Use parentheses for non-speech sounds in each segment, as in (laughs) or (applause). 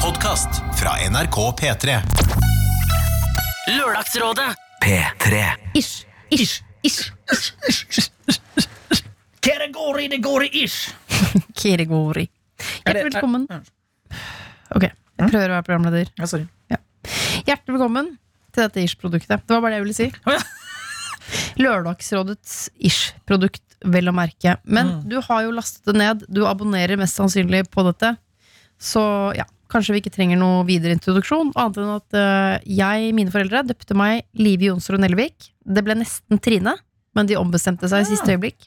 Podkast fra NRK P3. Lørdagsrådet P3. Ish, ish, ish. Kjære Gori, det går i ish! Kirigori. Hjertelig velkommen. Ok, jeg prøver å være programleder. Hm? Ja, sorry. Hjertelig velkommen til dette ish-produktet. Det var bare det jeg ville si. Å, ja. Lørdagsrådets ish-produkt, vel å merke. Men Hm. du har jo lastet det ned. Du abonnerer mest sannsynlig på dette. Så ja, kanskje vi ikke trenger noe videre introduksjon, annet enn at eh, jeg, mine foreldre, døpte meg Live Jonsrud Nelvik. Det ble nesten Trine, men de ombestemte seg i siste øyeblikk.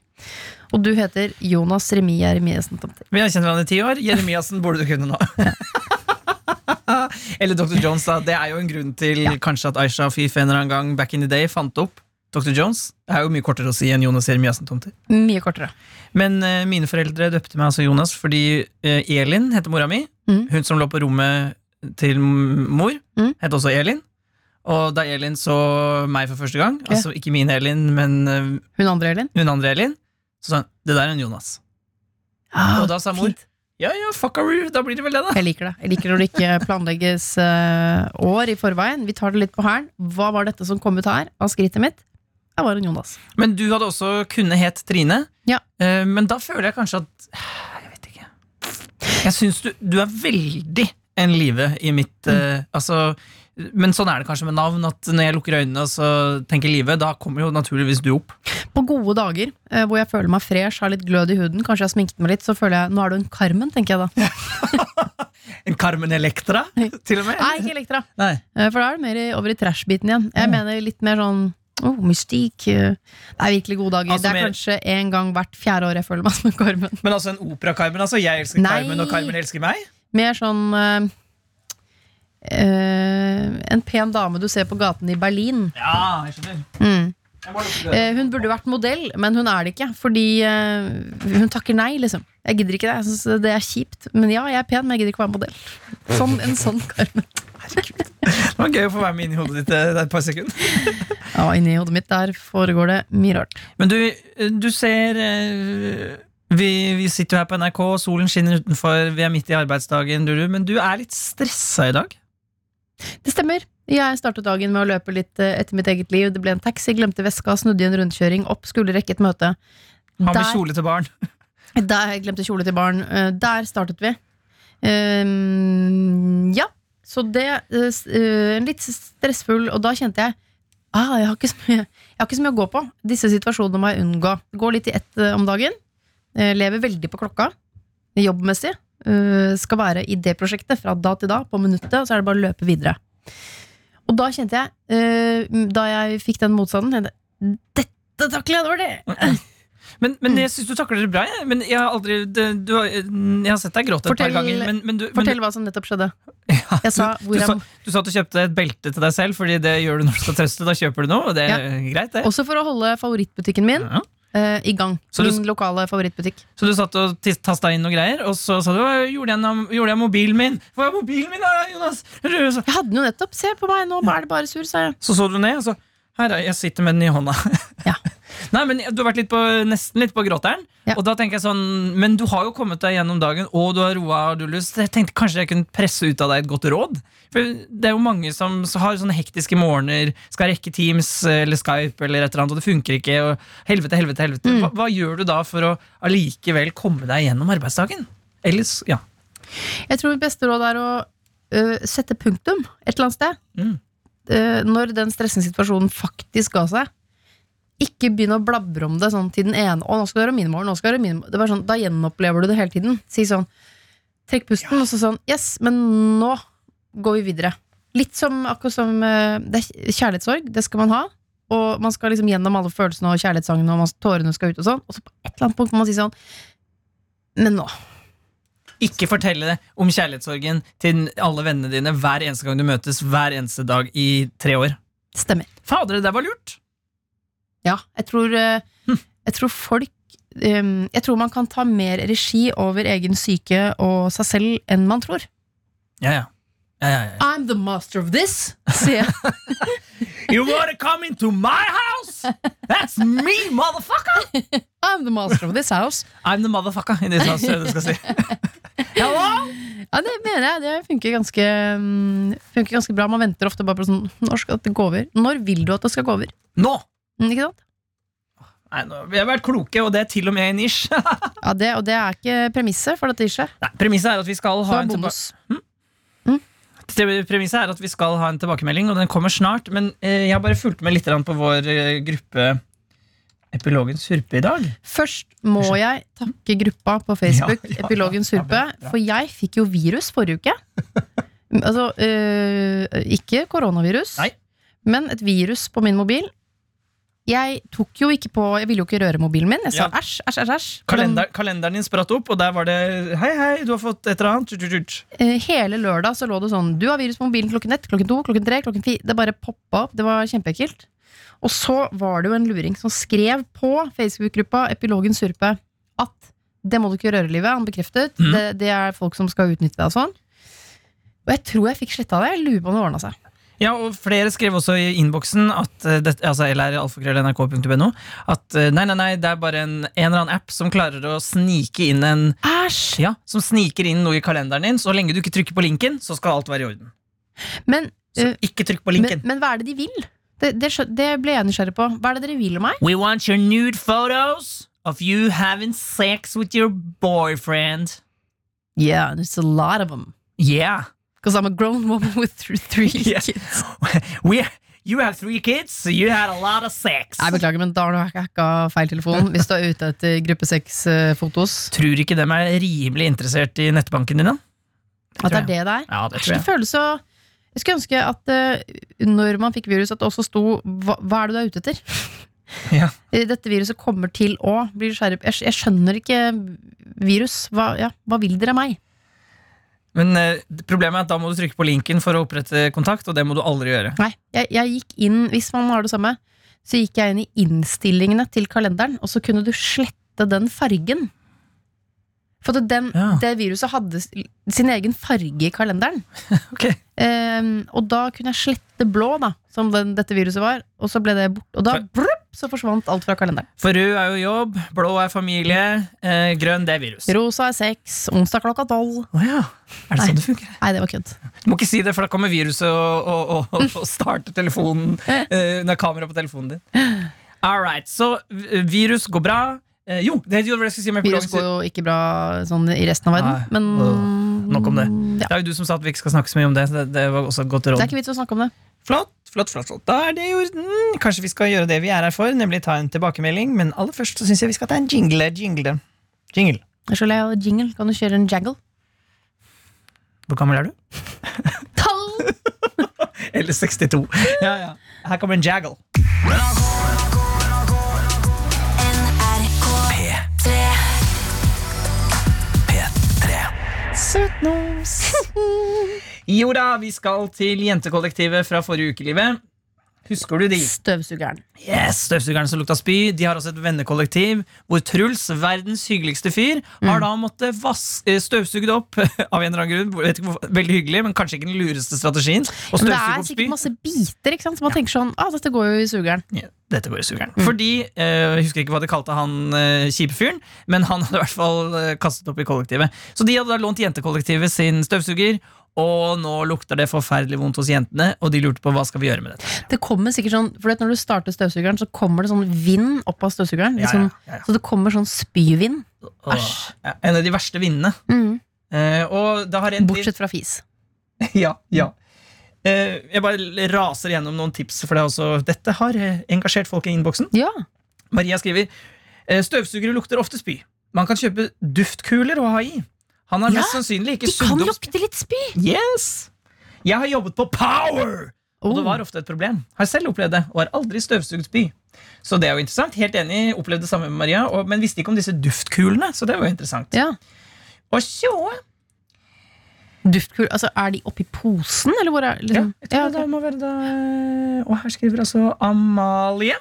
Og du heter Jonas Remi Jeremiassen Tomter. Vi har kjent hverandre i ti år. Jeremiassen burde du kunne nå. (laughs) Eller Dr. Jones, da. Det er jo en grunn til kanskje at Aisha Afif en eller annen gang back in the day fant opp Dr. Jones. Det er jo mye kortere å si enn Jonas Jeremiassen Tomter. Mye kortere. Men eh, mine foreldre døpte meg altså Jonas fordi eh, Elin heter mora mi. Mm. Hun som lå på rommet til m- mor, Mm. het også Elin. Og da Elin så meg for første gang, Ja. altså ikke min Elin, men eh, Hun andre, Elin? hun andre Elin, så sa hun 'det der er en Jonas'. Og da sa mor fint. ja ja, fuck her, da blir det vel det, da. Jeg liker det. Jeg liker når det (laughs) ikke planlegges eh, år i forveien. Vi tar det litt på hælen. Hva var dette som kom ut her av skrittet mitt? Jeg var en Jonas. Men du hadde også kunne het Trine. Ja. Eh, men da føler jeg kanskje at Jeg vet ikke. Jeg syns du, du er veldig en Live i mitt eh, Altså men sånn er det kanskje med navn. At Når jeg lukker øynene og så tenker Live, da kommer jo naturligvis du opp. På gode dager eh, hvor jeg føler meg fresh, har litt glød i huden, kanskje jeg har sminket meg litt, så føler jeg nå er du en Carmen, tenker (laughs) jeg da. En Carmen Electra, til og med. Nei, ikke Elektra. Nei. Eh, For da er det mer i- over i trash-biten igjen. Mm. Jeg mener litt mer sånn Oh, mystikk. eh, Det er virkelig gode dager. Altså det er mer- kanskje en gang hvert fjerde år jeg føler meg som en Carmen. Men altså en opera-Carmen. altså Jeg elsker Nei. Carmen, og Carmen elsker meg. Mer sånn eh, eh, En pen dame du ser på gaten i Berlin. Ja, jeg skjønner. Mm. Jeg må lukke døren. Eh, hun burde vært modell, men hun er det ikke. Fordi eh, hun takker nei, liksom. Jeg gidder ikke det. Jeg synes det er kjipt. Men ja, jeg er pen, men jeg gidder ikke være modell. Som en sånn Carmen. Det var gøy å få være med inn i hodet ditt eh, et par sekunder. Ja, inni hodet mitt der foregår det mye rart. Men du, du ser eh, vi, vi sitter jo her på NRK, solen skinner utenfor, vi er midt i arbeidsdagen, du, du, men du er litt stressa i dag. Det stemmer. Jeg startet dagen med å løpe litt eh, etter mitt eget liv. Det ble en taxi, glemte veska, snudde i en rundkjøring, opp, skulle rekke et møte. Har med Der- kjole til barn. Der, jeg glemte kjole til barn. Eh, Der startet vi. Ehm, ja. Så det eh, s- eh, En litt stressfull Og da kjente jeg ah, jeg, har ikke så mye, jeg har ikke så mye å gå på. Disse situasjonene må jeg unngå. Går litt i ett eh, om dagen. Eh, Lever veldig på klokka jobbmessig. Eh, Skal være i det prosjektet fra da til da, på minuttet, og så er det bare å løpe videre. Og da kjente jeg, eh, da jeg fikk den motstanden tenkte jeg, Dette takler jeg dårlig! Men, Mm. men jeg syns du takler det bra. Jeg. Men jeg har aldri det- du, har- Jeg har sett deg gråte et Fortell- par ganger. Men, men du, (laughs) Fortell hva som nettopp skjedde. Jeg sa du, hvor du, jeg sa, du sa at du kjøpte et belte til deg selv, Fordi det gjør du når du skal trøste. Da kjøper du noe, og det er greit, det. (laughs) Også for å holde favorittbutikken min Ja. eh, i gang. Så du- min lokale favorittbutikk. Så du satt og tis- tasta inn noen greier, og så sa du «Å, gjorde jeg, noe- gjorde jeg mobilen min? Hvor er mobilen min, da, Jonas? Så- Jeg hadde den jo nettopp! Se på meg, nå er det bare sur, sa jeg. Så så du ned, og så Her, er- jeg sitter med den i hånda. (laughs) Ja. Nei, men Du har vært litt på, nesten litt på gråteren. Ja. Og da tenker jeg sånn, Men du har jo kommet deg gjennom dagen, og du har roa og du har lyst. Jeg tenkte kanskje jeg kunne presse ut av deg et godt råd. For Det er jo mange som s- har sånne hektiske morgener, skal rekke Teams eller Skype, eller et eller annet, og det funker ikke. og Helvete, helvete, helvete. Mm. Hva, hva gjør du da for å allikevel komme deg gjennom arbeidsdagen? Ellers, ja. Jeg tror mitt beste råd er å eh, sette punktum et eller annet sted. Mm. Eh, når den stressende situasjonen faktisk ga seg. Ikke begynn å blabre om det sånn til den ene. Å, nå skal du gjøre min morgen, nå skal du gjøre min morgen. Det var sånn, Da gjenopplever du det hele tiden. Si sånn Trekk pusten, og så sånn Yes, men nå går vi videre. Litt som akkurat som eh, det er kjærlighetssorg. Det skal man ha. Og man skal liksom gjennom alle følelsene og kjærlighetssangene, og man, tårene skal ut og sånn. Og så på et eller annet punkt må man si sånn Men nå. Ikke fortelle om kjærlighetssorgen til alle vennene dine hver eneste gang du møtes hver eneste dag i tre år. Stemmer. Fader, det der var lurt! Ja, jeg tror, eh, jeg tror folk ehm, Jeg tror man kan ta mer regi over egen syke og seg selv enn man tror. Ja, ja. Ja, ja, ja. I'm the master of this, sier jeg. You wanna come into my house? That's me, motherfucker! (laughs) I'm the master of this house. I'm the motherfucker i disse house, er det du skal si. (laughs) Hello? Ja, det mener jeg. Det funker ganske, mm, funker ganske bra. Man venter ofte bare på sånn Når skal dette gå over? Når vil du at det skal gå over? Nå! Mm, Ikke sant? Nei, nå, vi har vært kloke, og det er til og med i nisj. Ja, det, og det er ikke premisset for dette ikke. Nei, Premisset er at vi skal Det ha var en tilba- bonus. Pre- Premisset er at vi skal ha en tilbakemelding, og den kommer snart. Men eh, jeg har bare fulgt med litt grann på vår eh, gruppe Epilogen surpe i dag. Først må jeg takke gruppa på Facebook, Ja, ja, ja. Epilogen Surpe, Ja, men, ja. for jeg fikk jo virus forrige (laughs) uke. altså, øh, ikke koronavirus, Nei. men et virus på min mobil. Jeg tok jo ikke på Jeg ville jo ikke røre mobilen min. Jeg sa Ja. æsj, æsj, æsj. æsj. Kalender, kalenderen din spratt opp, og der var det Hei, hei, du har fått et eller annet. Tut, tut, tut. Eh, Hele lørdag så lå det sånn Du har virus på mobilen klokken ett, klokken to, klokken tre, klokken fire. Det bare poppa opp. Det var kjempeekkelt. Og så var det jo en luring som skrev på Facebook-gruppa Epilogen Surpe at det må du ikke gjøre, livet. Han bekreftet. Mm. Det, det er folk som skal utnytte deg og sånn. Og jeg tror jeg fikk sletta det. Jeg lurer på om det ordna seg. Ja, og flere skrev også i innboksen at eh, det, altså, eller alfakrøll.nrk.no at eh, nei, nei, nei, det er bare en, en eller annen app som klarer å snike inn en Æsj! ja, som sniker inn noe i kalenderen din. Så lenge du ikke trykker på linken, så skal alt være i orden. Men, Så Eh, ikke trykk på men, linken. men hva er det de vil? Det, det, skjø- det ble jeg nysgjerrig på. Hva er det dere vil av meg? We want your nude photos of you having sex with your boyfriend. Yeah, there's a lot of them. Yeah. Because I'm a grown woman with th- (laughs) three Yeah. kids. We, you have three kids, so you had a lot of sex. Jeg beklager, men da har du hacka feil telefon hvis du er ute etter gruppe eh, 6-fotos. Tror ikke dem er rimelig interessert i nettbanken din, da? At det er det det er. Ja, det tror Det jeg. føles så Jeg skulle ønske at eh, når man fikk virus, at det også sto hva, hva er det du er ute etter? (laughs) Ja. Eh, Dette viruset kommer til å bli skjerp... Jeg, jeg skjønner ikke virus. Hva, ja, hva vil dere av meg? Men eh, problemet er at da må du trykke på linken for å opprette kontakt, og det må du aldri gjøre. Nei, jeg, jeg gikk inn, hvis man har det samme, så gikk jeg inn i innstillingene til kalenderen, og så kunne du slette den fargen. For at den, Ja. det viruset hadde s- sin egen farge i kalenderen. (laughs) Ok. Ehm, og da kunne jeg slette blå, da, som den, dette viruset var. Og så ble det bort, og da For- brup, så forsvant alt fra kalenderen. For rød er jo jobb, blå er familie, eh, grønn det er virus. Rosa er seks, onsdag klokka tolv. Å ja. Er det Nei. sånn det funker? Nei, det var kødd. Du må ikke si det, for da kommer viruset og, og, og, og starter telefonen (laughs) eh, Når kameraet på telefonen din. All right, så eh, virus går bra. Eh, jo, det er jo det jeg skulle si om Virus epilogen. går jo ikke bra sånn i resten av verden, Nei. men Nok om Ja. Det er jo du som sa at vi ikke skal snakke så mye om det. så Det, Mm, det var også et godt Det råd. er ikke vits å snakke om det. Flott, flott, flott, flott. Da er det jo, mm, Kanskje vi skal gjøre det vi er her for, nemlig ta en tilbakemelding. Men aller først så syns jeg vi skal ta en jingle. Jingle. jingle. Jeg er så lei av jingle. Kan du kjøre en jangle? Hvor gammel er du? Tall! Eller 62. (laughs) Ja, ja. Her kommer en jaggle. Søtnos. Jo da, vi skal til jentekollektivet fra forrige uke, Livet. Husker du de? Støvsugeren. Yes, Støvsugerne som lukta spy. De har også et vennekollektiv hvor Truls, verdens hyggeligste fyr, har da måttet vas- eh, støvsuge det opp (laughs) av en eller annen grunn. Vet ikke hvorfor. Veldig hyggelig, men kanskje ikke den lureste strategien. Å Men støvsuge det er opp spy. sikkert masse biter, ikke sant? så man tenker sånn ah, dette går jo i sugeren. Ja, dette går i sugeren. Mm. Fordi, eh, jeg husker ikke hva de kalte han eh, kjipe fyren, men han hadde i hvert fall eh, kastet opp i kollektivet. Så de hadde da lånt jentekollektivet sin støvsuger, og nå lukter det forferdelig vondt hos jentene, og de lurte på hva skal vi gjøre med dette. Det kommer sikkert sånn, for du vet, Når du starter støvsugeren, så kommer det sånn vind opp av støvsugeren. Ja, Liksom, ja, ja, ja. Så det kommer sånn spyvind. Åh, Æsj. ja, En av de verste vindene. Mm. Eh, og da har en Bortsett fra fis. (laughs) Ja, ja. Eh, jeg bare raser gjennom noen tips, for det er også, dette har eh, engasjert folk i innboksen. Ja, Maria skriver eh, Støvsugere lukter ofte spy. Man kan kjøpe duftkuler å ha i. Han har Ja, mest sannsynlig ikke De kan sugd opp lukte litt spy! Yes! Jeg har jobbet på Power! Og det Oh. var ofte et problem. Har selv opplevd det, og har aldri støvsugd spy. Så det er jo interessant. Helt enig, opplevde det samme med Maria, og, men visste ikke om disse duftkulene. Så det var jo interessant. Ja. Og så Duftkul, altså Er de oppi posen, eller hvor er Ja, liksom? jeg tror det ok. eh, må være da Og her skriver altså Amalie.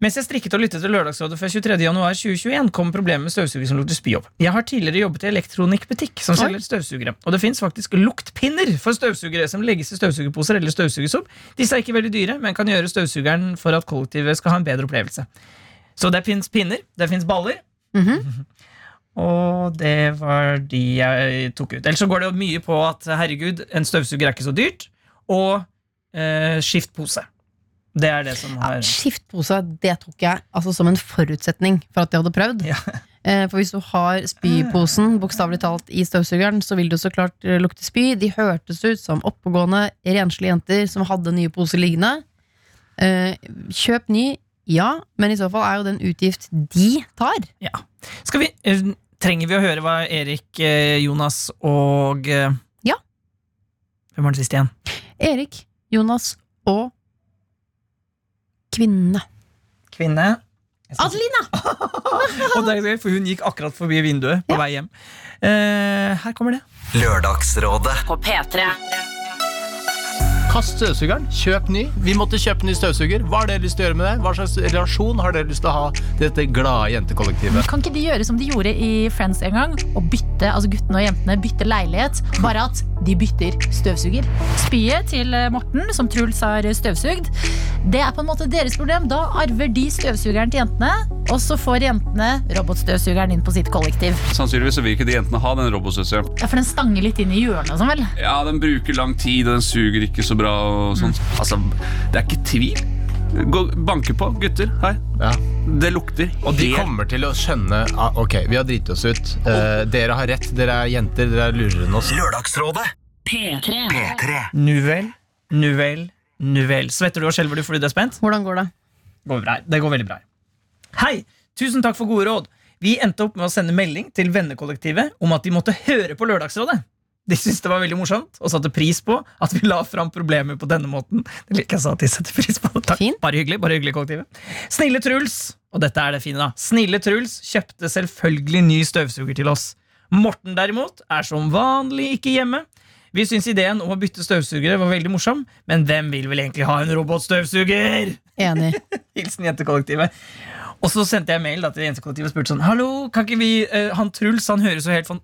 Mens jeg strikket og lyttet til Lørdagsrådet før 23.1.2021, kom problemet med støvsuger som lukter spy opp. Jeg har tidligere jobbet i elektronikkbutikk som Oi. selger støvsugere, og det fins faktisk luktpinner for støvsugere som legges i støvsugerposer eller støvsuges opp. Disse er ikke veldig dyre, men kan gjøre støvsugeren for at kollektivet skal ha en bedre opplevelse. Så det fins pinner, det fins baller, Mhm. og det var de jeg tok ut. Ellers så går det jo mye på at herregud, en støvsuger er ikke så dyrt, og eh, skift pose. Det er det som har ja, Skiftpose, det tok jeg altså, som en forutsetning for at jeg hadde prøvd. Ja. Ah. Eh, For hvis du har spyposen bokstavelig talt i støvsugeren, så vil det jo så klart eh, lukte spy. De hørtes ut som oppegående, renslige jenter som hadde nye poser liggende. Eh, Kjøp ny, ja, men i så fall er jo det en utgift de tar. Skal vi, eh, trenger vi å høre hva Erik, eh, Jonas og eh, Ja. Hvem var den siste igjen? Erik, Jonas og kvinne. Kvinne. Adelina! og det er gøy, for hun gikk akkurat forbi vinduet på vei hjem. Eh, her kommer det. Lørdagsrådet. På P3. Kast støvsugeren, kjøp ny. Vi måtte kjøpe ny støvsuger. Hva har dere lyst til å gjøre med det? Hva slags relasjon har dere lyst til å ha til dette glade jentekollektivet? Kan ikke de gjøre som de gjorde i Friends en gang? Og bytte, altså guttene og jentene bytte leilighet, bare at de bytter støvsuger. Spyet til eh, Morten, som Truls har eh, støvsugd, det er på en måte deres problem. Da arver de støvsugeren til jentene, og så får jentene robotstøvsugeren inn på sitt kollektiv. Sannsynligvis så vil ikke de jentene ha den robotstøvsugeren. Ja, For den stanger litt inn i hjørnet og sånn, vel? Ja, den bruker lang tid, og den suger ikke så bra og sånn. Altså, det er ikke tvil. Gå, banke på, gutter. Hei. Ja. Det lukter. Og de helt- kommer til å skjønne ah, Ok, vi har driti oss ut. Eh, dere har rett, dere er jenter, dere er lurere enn oss. Lørdagsrådet. P3. P3. Nuvel, nuvel, nuvel. Svetter du og skjelver du fordi du er spent? Hvordan går det? Går bra. Det går veldig bra. Hei! Tusen takk for gode råd. Vi endte opp med å sende melding til vennekollektivet om at de måtte høre på Lørdagsrådet. De syntes det var veldig morsomt og satte pris på at vi la fram problemer på denne måten. Det liker jeg sa at de setter pris på. Takk. Fint. Bare hyggelig, bare hyggelig kollektivet. Snille Truls og dette er det fine da. Snille Truls kjøpte selvfølgelig ny støvsuger til oss. Morten derimot er som vanlig ikke hjemme. Vi syns ideen om å bytte støvsugere var veldig morsom, men hvem vil vel egentlig ha en robotstøvsuger? Enig. Hilsen jentekollektivet. Og så sendte jeg mail da til jentekollektivet og spurte sånn Hallo, kan ikke vi eh, Han Truls han høres jo helt fan-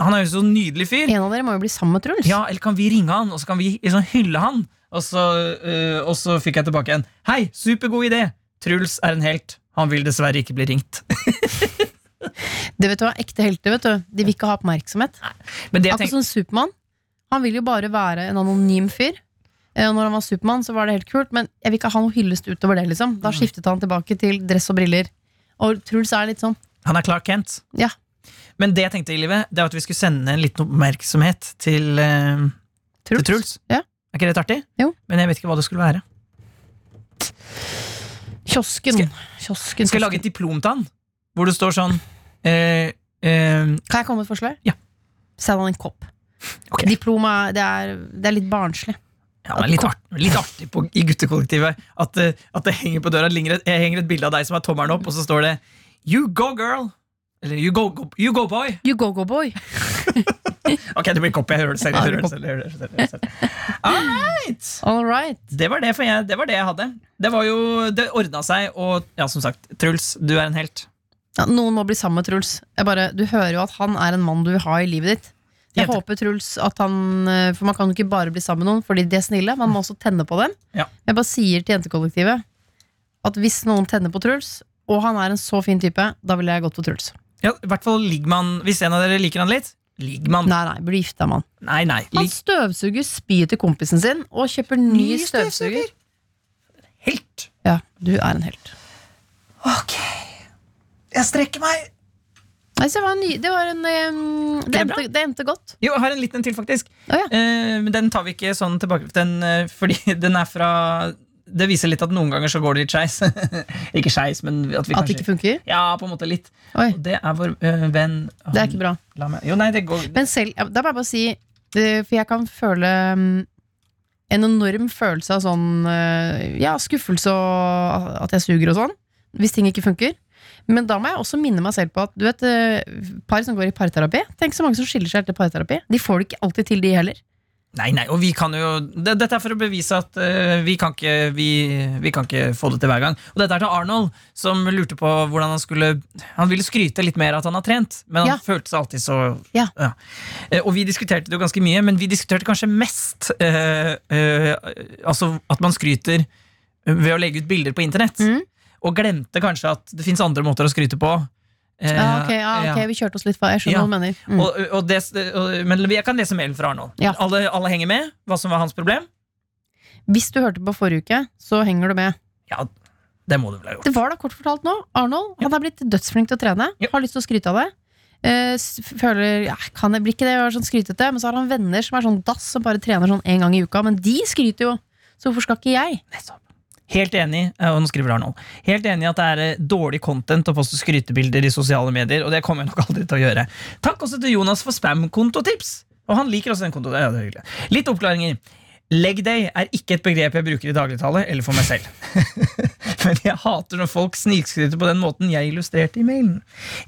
Han er jo så nydelig fyr. En av dere må jo bli sammen med Truls. Ja, eller kan vi ringe han, og så kan vi liksom hylle han? Og så, eh, og så fikk jeg tilbake en Hei, supergod idé! Truls er en helt. Han vil dessverre ikke bli ringt. Det vet du hva, Ekte helter vet du De vil ikke ha oppmerksomhet. Men det jeg Akkurat tenker, som Supermann. Han vil jo bare være en anonym fyr. Eh, og Når han var Supermann, så var det helt kult, men jeg vil ikke ha noe hyllest utover det. liksom Da skiftet han tilbake til dress og briller. Og Truls er litt sånn. han er Clark Kent. Ja, Men det jeg tenkte i livet, det var at vi skulle sende en liten oppmerksomhet til, eh, til Truls. Truls. Ja. Er ikke det litt artig? Jo. Men jeg vet ikke hva det skulle være. Kiosken. Skal- Kiosken. Skal jeg lage et diplom til han? Hvor det står sånn eh, eh, Kan jeg komme med et forslag? Ja. Send han en kopp. Ok. Diplom er, det er, det er litt barnslig. ja, men litt, art, litt artig på, i guttekollektivet at, eh, at det henger på døra henger et, henger et bilde av deg som er tommelen opp, og så står det You go, girl! Eller You go, go, you go boy! You go, go, boy. Ok, det blir kopp. Jeg hører det selv. Jeg hører det selv, jeg hører det selv, jeg hører det selv. Alright. All right. Det var det, for jeg, det var det jeg hadde. Det var jo, det ordna seg, og ja, som sagt, Truls, du er en helt. Ja, noen må bli sammen med Truls. Jeg bare, du hører jo at han er en mann du vil ha i livet ditt. Jeg Jente. håper Truls at han eh, For man kan jo ikke bare bli sammen med noen, fordi de er snille. Man må også tenne på dem. Ja. Jeg bare sier til jentekollektivet at hvis noen tenner på Truls, og han er en så fin type, da ville jeg gått for Truls. Ja, i hvert fall ligger man, Hvis en av dere liker han litt, ligger man. Nei, nei, blir gifta med han. Nei, nei. Han lik- støvsuger spyet til kompisen sin og kjøper ny, Ny støvsuger. støvsuger? Helt. Ja, du er en helt. Ok. Jeg strekker meg. Nei, så det var en ny Det, var en, eh, det, det bra? endte, det endte godt. Jo, jeg har en liten en til, faktisk. Å, ja. Eh, men den tar vi ikke sånn tilbake. Den, eh, fordi (laughs) den er fra Det viser litt at noen ganger så går det litt skeis. (laughs) ikke skeis, men at vi At det kanskje ikke funker. Ja, på en måte litt. Oi, Og det er vår eh, venn det er ikke bra. La meg Jo, nei, det går Men selv, ja, da må jeg bare si eh, For jeg kan føle mm, En enorm følelse av sånn eh, Ja, skuffelse og at jeg suger og sånn Hvis ting ikke funker Men da må jeg også minne meg selv på at Du vet, eh, par som går i parterapi Tenk så mange som skiller seg til parterapi De får det ikke alltid til de heller Nei, nei, og vi kan jo det, Dette er for å bevise at eh, vi, kan ikke, vi, vi kan ikke få det til hver gang. Og dette er til Arnold, som lurte på hvordan han skulle Han ville skryte litt mer at han har trent, men han Ja. følte seg alltid så Ja. Eh, Og vi diskuterte det jo ganske mye, men vi diskuterte kanskje mest eh, eh, Altså at man skryter ved å legge ut bilder på internett. Mhm. Og glemte kanskje at det fins andre måter å skryte på. Eh, Ja, Ah, ok, ja, ja. ok, vi kjørte oss litt fra. Jeg skjønner Ja. hva du mener. Mm. Og, og det, og, men jeg kan lese mailen fra Arnold. Ja. Alle, alle henger med? Hva som var hans problem? Hvis du hørte på forrige uke, så henger du med. Ja, det må du vel ha gjort. Det var da kort fortalt nå. Arnold han er blitt dødsflink til å trene. Ja. Har lyst til å skryte av det. Eh, s- føler ja, Kan jeg bli ikke det? Jeg er sånn skrytete. Men så har han venner som er sånn dass, som bare trener sånn én gang i uka. Men de skryter jo. Så hvorfor skal ikke jeg? Helt enig eh, og nå skriver Arnold Helt enig i at det er eh, dårlig content å poste skrytebilder i sosiale medier. Og det kommer jeg nok (laughs) aldri til å gjøre. Takk også til Jonas for spam-kontotips! Og han liker også den kontoen. Ja, det er hyggelig. Litt oppklaringer. Leg day er ikke et begrep jeg bruker i dagligtale eller for meg selv. (laughs) Men jeg hater når folk snikskryter på den måten jeg illustrerte i mailen.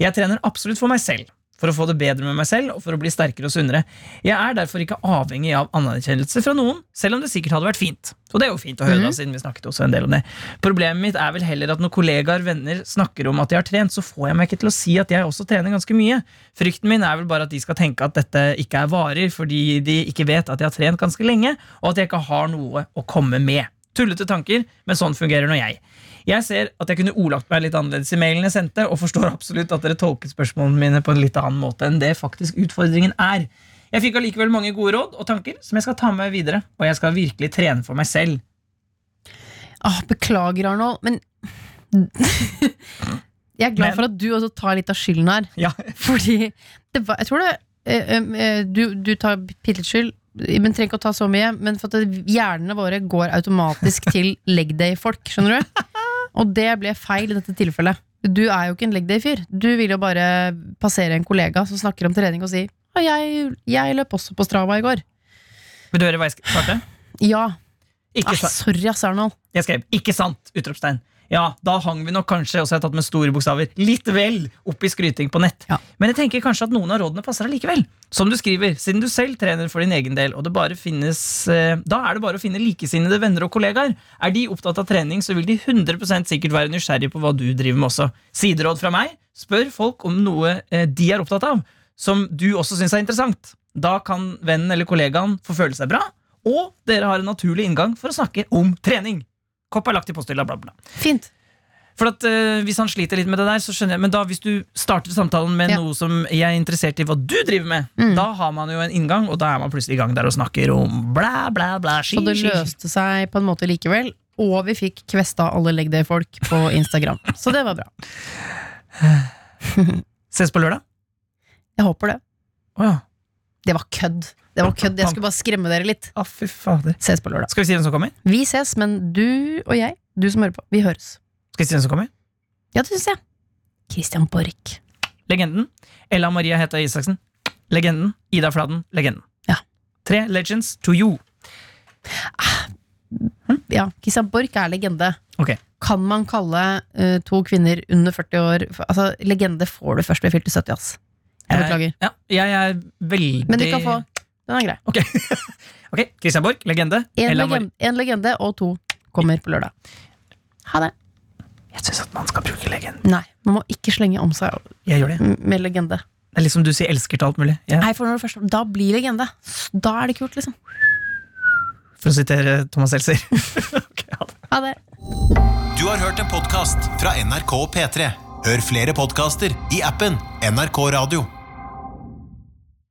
Jeg trener absolutt for meg selv, for å få det bedre med meg selv og for å bli sterkere og sunnere. Jeg er derfor ikke avhengig av anerkjennelse fra noen, selv om det sikkert hadde vært fint. Og det er jo fint å høre, da, siden vi snakket også en del om det. Problemet mitt er vel heller at når kollegaer, venner, snakker om at de har trent, så får jeg meg ikke til å si at jeg også trener ganske mye. Frykten min er vel bare at de skal tenke at dette ikke er varer, fordi de ikke vet at jeg har trent ganske lenge, og at jeg ikke har noe å komme med. Tullete tanker, men sånn fungerer nå jeg. Jeg ser at jeg kunne ordlagt meg litt annerledes i mailen jeg sendte, og forstår absolutt at dere tolket spørsmålene mine på en litt annen måte enn det faktisk utfordringen er. Jeg fikk allikevel mange gode råd og tanker som jeg skal ta med meg videre, og jeg skal virkelig trene for meg selv. Ah, beklager, Arnold, men (laughs) Jeg er glad Men- for at du også tar litt av skylden her. Ja, Fordi det var, Jeg tror det eh, em, eh, Du, du tar bitte litt skyld, men trenger ikke å ta så mye. Men for at det- hjernene våre går (laughs) automatisk til leg day-folk, skjønner du? Og det ble feil i dette tilfellet. Du er jo ikke en leg day-fyr. Du vil jo bare passere en kollega som snakker om trening, og si «Ja, jeg, jeg løp også på Strava i går. Vil du høre hva jeg sk- svarte? Ah, Ja. Ikke Nei, sant. sorry, ass, Arnold. Jeg skrev 'ikke sant!' utropstegn. Ja, da hang vi nok kanskje, og så har jeg tatt med store bokstaver, litt vel opp i skryting på nett. Ja. Men jeg tenker kanskje at noen av rådene passer allikevel. Som du skriver, siden du selv trener for din egen del, og det bare finnes eh, Da er det bare å finne likesinnede venner og kollegaer. Er de opptatt av trening, så vil de 100 sikkert være nysgjerrige på hva du driver med også. Sideråd fra meg spør folk om noe eh, de er opptatt av, som du også syns er interessant. Da kan vennen eller kollegaen få føle seg bra, og dere har en naturlig inngang for å snakke om trening. Kopp er lagt i posthylla, bla, bla. Fint. For at eh, Hvis han sliter litt med det der, så skjønner jeg Men da hvis du starter samtalen med Ja. noe som jeg er interessert i hva du driver med, Mm. da har man jo en inngang, og da er man plutselig i gang der og snakker om bla, bla, bla. Ski, Så det ski, ski. løste seg på en måte likevel. Og vi fikk kvesta alle leg day-folk på Instagram. Så det var bra. Ses på lørdag? Jeg håper det. Å ja. Det var kødd. Det var kødd. Jeg skulle bare skremme dere litt. Ah, fy fader. Ses på lørdag. Skal vi si hvem som kommer? Vi ses, men du og jeg, du som hører på, vi høres. Skal vi si hvem som kommer? Ja, det syns jeg. Christian Borch. Legenden. Ella Maria Heta Isaksen. Legenden. Ida Fladen. Legenden. Ja. Tre legends to you. Ja, Christian Borch er legende. Ok. Kan man kalle eh, to kvinner under 40 år for- Altså, legende får du først ved fylte 70, ass. Jeg beklager. Ja, jeg er veldig Men du kan få Den er grei. Ok, (laughs) Ok, Christian Borch, legende. En Ella Marie- legende, en legende og to kommer på lørdag. Ha det. Jeg syns at man skal bruke legenden. Nei, man må ikke slenge om seg Jeg gjør det. med legende. Det er liksom du sier elsker til alt mulig. Jeg, Nei, for når du først Da blir legende. Da er det kult, liksom. for å sitere Thomas Seltzer. (laughs) Ok, ha det. Ha det. Du har hørt en podcast fra NRK P3. Hør flere podcaster i appen NRK Radio.